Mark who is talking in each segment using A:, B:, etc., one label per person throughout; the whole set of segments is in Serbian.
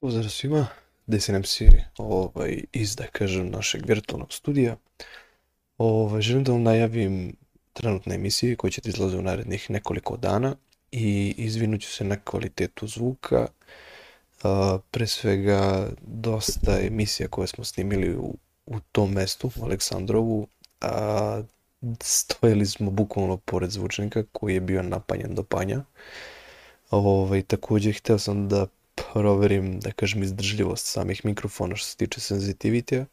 A: Pozdrav svima, DSNM Siri, ovaj, iz, da kažem, našeg virtualnog studija. Ovaj, želim da vam najavim trenutne emisije koje će ti izlaze u narednih nekoliko dana i izvinut ću se na kvalitetu zvuka. A, pre svega, dosta emisija koje smo snimili u, u tom mestu, u Aleksandrovu, a, stojili smo bukvalno pored zvučnika koji je bio napanjen do panja. Ovaj, takođe, hteo sam da proverim, da kažem, izdržljivost samih mikrofona što se tiče senzitivitija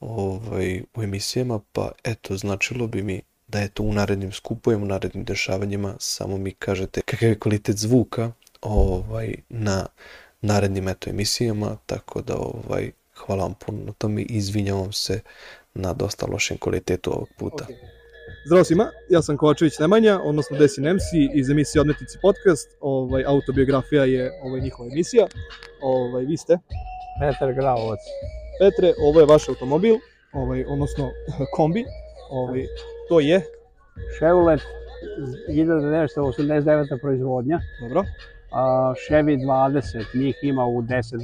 A: ovaj, u emisijama, pa eto, značilo bi mi da je to u narednim skupovima, u narednim dešavanjima, samo mi kažete kakav je kvalitet zvuka ovaj, na narednim eto emisijama, tako da ovaj, hvala vam puno na tome i izvinjavam se na dosta lošem kvalitetu ovog puta.
B: Ok. Zdravo svima, ja sam Kovačević Nemanja, odnosno Desi Nemsi iz emisije Odmetnici podcast. Ovaj, autobiografija je ovaj, njihova emisija. Ovaj, vi ste,
C: Petar Gravovac.
B: Petre, ovo je vaš automobil, ovaj, odnosno kombi. Ovaj, to je,
C: Chevrolet 1989. proizvodnja.
B: dobro,
C: A, Chevy 20, njih ima u 10, 20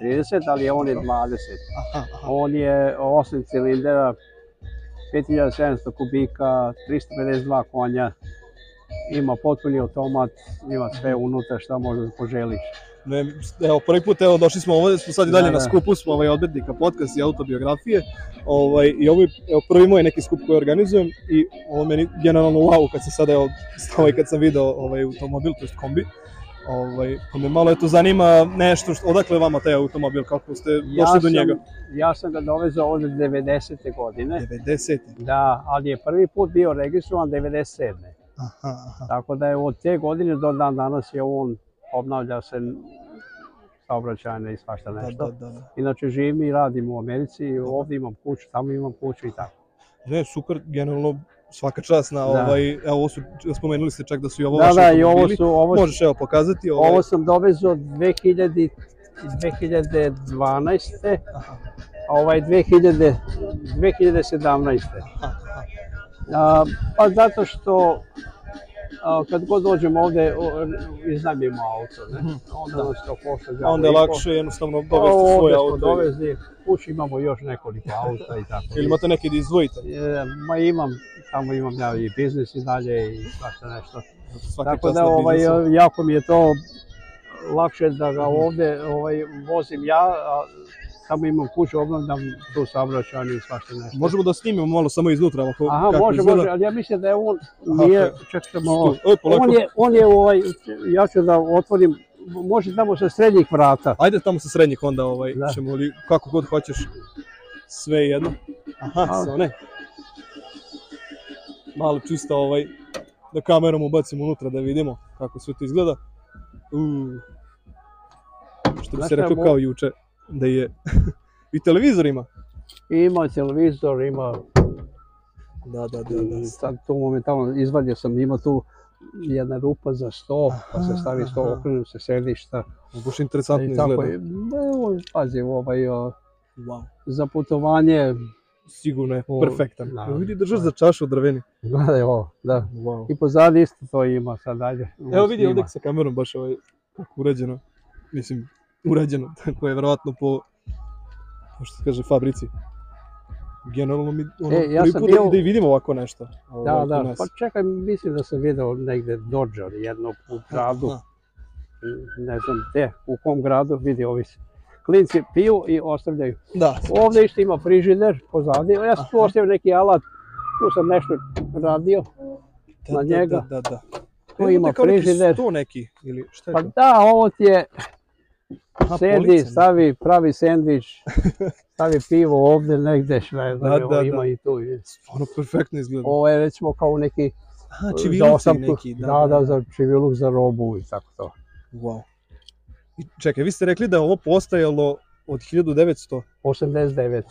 C: i 30, ali je on je 20.
B: aha, aha,
C: On je 8 cilindera, 5700 kubika, 352 konja, ima potpuni automat, ima sve unutra šta možda da poželiš.
B: ne, evo, prvi put, evo, došli smo ovde, smo sad i dalje
C: Da,
B: na
C: da.
B: skupu, smo ovaj, odmetnika podcast i autobiografije, ovaj, i ovo je, evo, prvi moj neki skup koji organizujem i ovo meni generalno wow kad sam sada, evo, ovaj, kad sam video ovaj, automobil, to jest kombi, ovaj, pa me malo eto zanima nešto, što, odakle je vama taj automobil, kako ste došli do njega?
C: ja sam ga dovezao ovde 90. godine,
B: 90.
C: da, ali je prvi put bio registrovan 97.
B: Aha, aha.
C: Tako da je od te godine do dan danas je on obnavlja se saobraćajne i svašta
B: Da,
C: nešto.
B: da, da, da.
C: Inače živim i radim u Americi, ovdje imam kuću, tamo imam kuću i tako.
B: Ne, super, generalno svaka čast na
C: Da.
B: ovaj, evo ovo su, spomenuli ste čak da su i ovo
C: Da,
B: vaši
C: da, i ovo
B: automobili.
C: su, ovo,
B: Možeš evo pokazati ovaj.
C: ovo sam dovezao 2000, 2012.
B: Aha,
C: a ovaj 2000, 2017.
B: aha,
C: A, pa zato što a, kad god dođem ovde, o, iznajmimo auto, ne? Onda nas to košta.
B: aha. Mhm. Onda je
C: džabu i po.
B: lakše jednostavno dovesti
C: Ovde
B: svoje
C: smo
B: auto. Dovesti.
C: Dovezli, kući imamo još nekoliko auta i tako.
B: Ili imate neke da izdvojite?
C: E, Ma imam, tamo imam ja i biznis i dalje i svašta nešto.
B: Svaka
C: tako
B: čast
C: da
B: na
C: ovaj,
B: biznisu.
C: jako mi je to lakše da
B: Mhm.
C: ga ovde ovaj, vozim ja, a tamo imam kuću, obnavljam tu saobraćajnu i svašta nešto.
B: Možemo da snimimo malo samo iznutra ovako
C: Aha,
B: kako
C: može,
B: izgleda.
C: može, ali ja mislim da je on,
B: Aha,
C: nije,
B: to
C: čak sam ovo,
B: Oj, polako.
C: on je, on je ovaj, ja ću da otvorim, može tamo sa srednjih vrata.
B: Ajde tamo sa srednjih onda ovaj,
C: Da.
B: ćemo li, kako god hoćeš, sve jedno. Aha,
C: Malo.
B: sa one. Malo čisto ovaj, da kamerom ubacimo unutra da vidimo kako sve to izgleda. Uuu. Što bi
C: Znaš
B: se
C: šta,
B: reklo
C: mo-
B: kao juče, da je i televizor ima.
C: Ima televizor, ima
B: Da, da, da, da.
C: sad tu momentalno izvadio sam, ima tu jedna rupa za sto, pa se stavi
B: Aha,
C: sto,
B: aha.
C: okrenu se sedišta.
B: Baš interesantno
C: I
B: izgleda.
C: tako je, ne, on, pazi, ovaj, o,
B: Wow.
C: za putovanje,
B: Sigurno je
C: O,
B: perfektan.
C: da,
B: Da, vidi držaš
C: da.
B: za čašu drveni.
C: gledaj ovo, da.
B: Wow.
C: I pozadi isto to ima sad, ajde.
B: Evo vidi
C: snima.
B: ovde sa kamerom baš ovaj kako urađeno. Mislim, urađeno, tako je verovatno po po što se kaže fabrici. Generalno mi ono,
C: E, ja
B: prvi
C: sam
B: put
C: bio-
B: da, da i vidimo ovako nešto.
C: Da,
B: ovaj, kod
C: da,
B: nas.
C: pa čekaj, mislim da sam video negde Dodger, jedno u gradu,
B: Aha.
C: ne znam gde, u kom gradu, vidi ovi se. Klinci piju i ostavljaju.
B: Da,
C: Ovde isto ima frižider pozadi, ja sam tu ostavio neki alat, tu sam nešto radio,
B: da,
C: na
B: da,
C: njega.
B: Da, da, da.
C: Tu
B: Evo,
C: ima
B: kao neki
C: frižider.
B: sto neki, ili šta je
C: Pa
B: to?
C: da, ovo ti je,
B: Aha,
C: sedi,
B: polica, ne?
C: stavi, pravi sendvič, stavi pivo ovde negde, šta je,
B: Da,
C: da,
B: da,
C: da, ima
B: da.
C: i tu. i-
B: Stvarno Ono, perfektno izgleda.
C: Ovo je recimo kao neki,
B: Aha,
C: za
B: čiviluci
C: osamku,
B: Znači, neki, da,
C: da, da, za čiviluk za robu i tako to.
B: Wow. I čekaj, vi ste rekli da je ovo postajalo od 1989.
C: 89.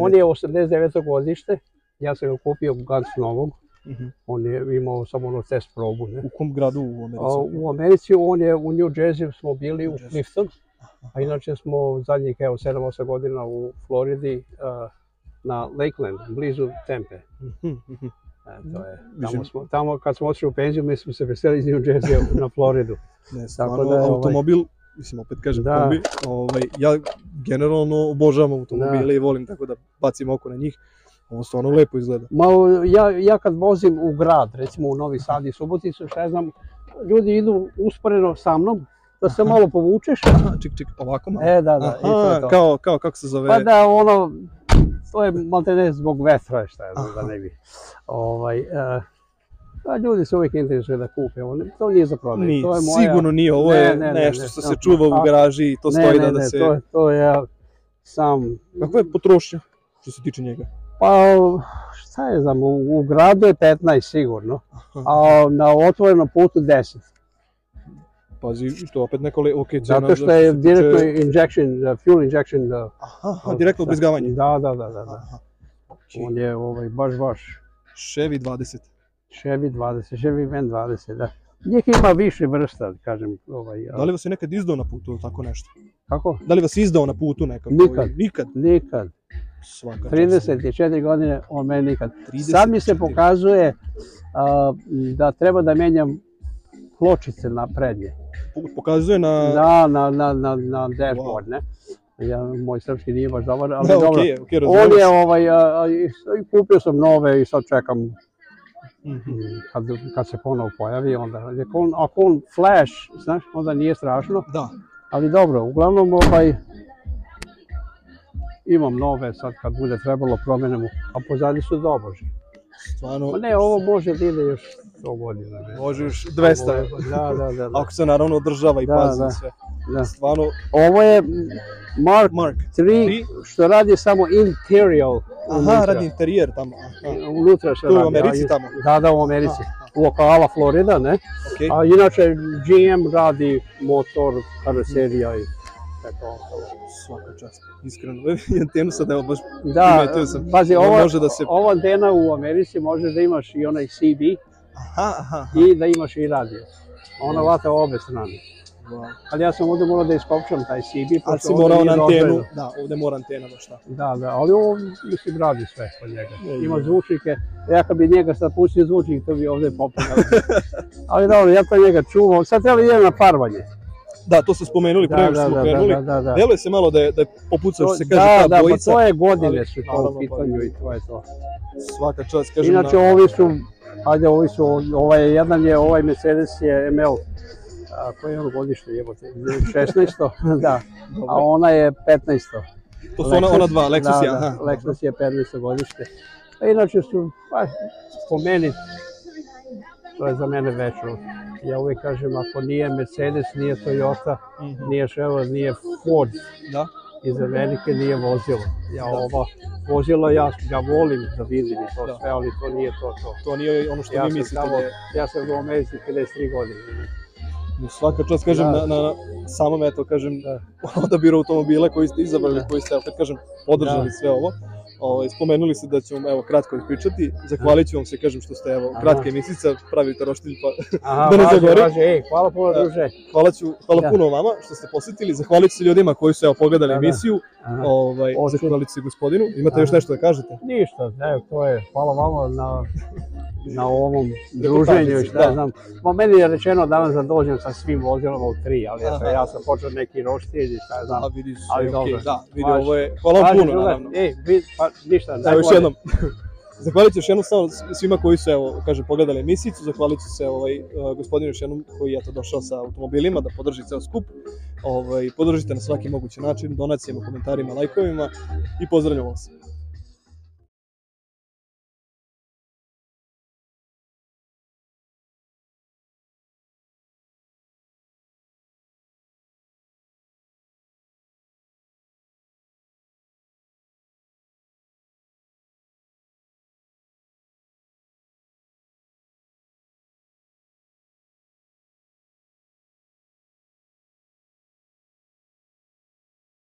C: On je 89. godište, ja sam ga kupio u Gans Novog,
B: Mhm.
C: on je imao samo ono test probu, ne.
B: U kom gradu u Americi?
C: A, u Americi, on je u New Jersey smo bili u
B: Jersey.
C: Clifton, a inače smo zadnjih evo 7-8 godina u Floridi a, na Lakeland, blizu Tempe.
B: Mhm, mhm.
C: E, to je.
B: Mislim-
C: Tamo, smo, tamo kad smo otišli u penziju, mi smo se veselili iz New Jersey na Floridu.
B: Ne, stvarno,
C: da je ovaj-
B: automobil mislim opet kažem
C: Da.
B: kombi, ovaj, ja generalno obožavam automobile
C: Da.
B: i volim tako da bacim oko na njih, ovo stvarno lepo izgleda.
C: Ma, ja, ja kad vozim u grad, recimo u Novi Sad i Suboticu, šta ja znam, ljudi idu usporeno sa mnom, da se malo povučeš.
B: Aha, čik čik, ovako malo.
C: E, da, da, i to
B: Aha,
C: je to.
B: Kao, kao, kako se zove?
C: Pa da, ono, to je maltene zbog vetra, šta ja znam, da ne bi. Ovaj, eh, a ljudi se uvijek interesuju da kupe, ono, to nije za prodaju.
B: Nije,
C: to je moja,
B: sigurno nije, ovo je
C: Ne, ne, ne,
B: nešto
C: ne,
B: što
C: ne,
B: se
C: ne,
B: čuva u
C: a-
B: garaži i to
C: ne,
B: stoji
C: ne,
B: da, da
C: ne,
B: se...
C: to, je- to ja sam,
B: Kakva je potrošnja što se tiče njega?
C: pa šta je znam, u, u gradu je 15 sigurno, a na otvorenom putu 10.
B: Pazi, to je opet neko le... ok, cena
C: Zato što
B: za-
C: je
B: se tiče-
C: direktno injection, da, fuel injection. Da,
B: Aha, direktno Znači- obrizgavanje.
C: Da, da, da, da. da.
B: Aha.
C: On je ovaj, baš, baš
B: Chevy 20.
C: Chevy 20, Chevy Van 20, da. Njih ima više vrsta, da kažem, ovaj, a-
B: Da li vas je nekad izdao na putu ili tako nešto?
C: kako?
B: Da li vas je izdao na putu nekako?
C: Nikad.
B: Nikad.
C: Nikad,
B: Svaka čast.
C: 34 godine, on meni nikad.
B: 34.
C: Sad mi se pokazuje a, da treba da menjam pločice na prednje,
B: Po- Pokazuje na...
C: na, na, na, na, na dashboard, ne? Ja, moj srpski nije baš dobar, ali
B: Da,
C: dobro.
B: okej, okej, razumem
C: On je,
B: se.
C: ovaj, a, a, i s- i kupio sam nove i sad čekam
B: Mhm.
C: kad, kad se ponovo pojavi, onda, ako on, ako on flash, znaš, onda nije strašno,
B: Da.
C: ali dobro, uglavnom ovaj, imam nove sad kad bude trebalo promenemo, a pozadi su doboži.
B: Stvarno,
C: Ma Pa ne, ovo može da ide još 100 godina. ne.
B: može još 200.
C: Ovo je- Da, da, da. da,
B: Ako se naravno održava i
C: Da,
B: pazi
C: da.
B: sve.
C: da.
B: Stvarno,
C: Ovo je Mark
B: Mark.
C: 3,
B: Tri.
C: što radi samo interior.
B: Aha,
C: unutra.
B: radi interijer tamo. Aha,
C: Unutra što
B: Tu u
C: radi,
B: Americi
C: ali-
B: tamo?
C: Da, da, u Americi. Lokala Florida, ne?
B: okej.
C: A inače GM radi motor, karoserija i tako ostalo.
B: Svaka čast. Iskreno, i antenu sad evo baš
C: Da,
B: primetio sam.
C: pazi,
B: Ona
C: ovo,
B: može da se...
C: ova antena u Americi može da imaš i onaj CB
B: Aha, aha.
C: i da imaš i radio. Ona vata obe strane.
B: Wow.
C: Ali ja sam ovdje morao da iskopčam taj CB.
B: Ali
C: pošto
B: si
C: ovdje
B: morao
C: nije
B: na antenu,
C: dozvoljeno.
B: da, ovde mora antena baš tako.
C: Da, da, ali ovo mislim radi sve kod
B: Je,
C: njega. Ima
B: je.
C: zvučnike, ja kad bi njega sad pustio zvučnik, to bi ovdje popinao. ali dobro, ja to njega čuvam. Sad treba idem na farbanje.
B: Da, to ste spomenuli,
C: Da,
B: pre nego što
C: da,
B: smo
C: da,
B: krenuli.
C: da, da, da.
B: Deluje se malo da je, da je popucao, što se kaže,
C: da,
B: ta
C: da,
B: bojica.
C: pa to je godine
B: ali,
C: su to
B: naravno,
C: u
B: pa
C: pitanju i to je to.
B: Svaka čast, kažem
C: Inače
B: na...
C: ovi su, ajde ovi su, ovaj jedan je, ovaj Mercedes je ML, a, koji je ono godište jebote, 16. da, a ona je 15.
B: To su ona, ona dva, Lexus
C: da,
B: i aha.
C: Da, Lexus je 15. godište. A inače su, pa, po meni, to je za mene večno. Ja uvijek kažem, ako nije Mercedes, nije Toyota,
B: Mhm.
C: nije Chevrolet, nije Ford,
B: Da.
C: iz Amerike nije vozilo. Ja ova vozila, ja, ja volim da vidim i to
B: Da.
C: sve, ali to nije to to.
B: To nije ono što
C: Ja
B: vi
C: sam,
B: mislite.
C: tamo,
B: da je-
C: ja sam u Americi 53 godine.
B: No, Svaka čast, kažem,
C: Da.
B: na, na, na samom, eto, kažem,
C: Da.
B: odabiru automobila koji ste izabrali,
C: Da.
B: koji ste, opet kažem, podržali
C: Da.
B: sve ovo. Ovaj, spomenuli ste da ću vam, evo, kratko ispričati. Zahvalit ću vam se, kažem, što ste, evo,
C: Aha.
B: kratke mislice, pravite roštilj, pa
C: Aha,
B: Da ne
C: važi,
B: zagori.
C: važi, ej, hvala puno,
B: Da.
C: druže.
B: hvala, ću, hvala
C: Da.
B: puno vama što ste posjetili. Zahvalit ću se ljudima koji su, evo, pogledali
C: Da, da.
B: emisiju.
C: Aha.
B: Ovaj,
C: Osim-
B: zahvalit ću se gospodinu. Imate još
C: Aha.
B: nešto da kažete?
C: Ništa, ne, to je, hvala vama na, na ovom druženju i šta ja
B: Da.
C: znam. Ma meni je rečeno danas da dođem sa svim vozilama u tri, ali ja sam,
B: Aha.
C: ja sam počeo neki roštilj i šta ja znam.
B: A vidiš,
C: Ali
B: sve je
C: dobro.
B: okej, da, vidi,
C: Važi.
B: ovo je, hvala vam
C: Važi,
B: puno,
C: drugar,
B: naravno.
C: Ej, vi, pa ništa,
B: Evo još
C: najbolje.
B: jednom. Zahvalit ću još jednom samo svima koji su, evo, kažem, pogledali emisicu, zahvalit ću se ovaj, eh, gospodinu još jednom koji je to došao sa automobilima da podrži ceo skup. Ovaj, podržite na svaki mogući način, donacijama, komentarima, lajkovima i pozdravljamo vas.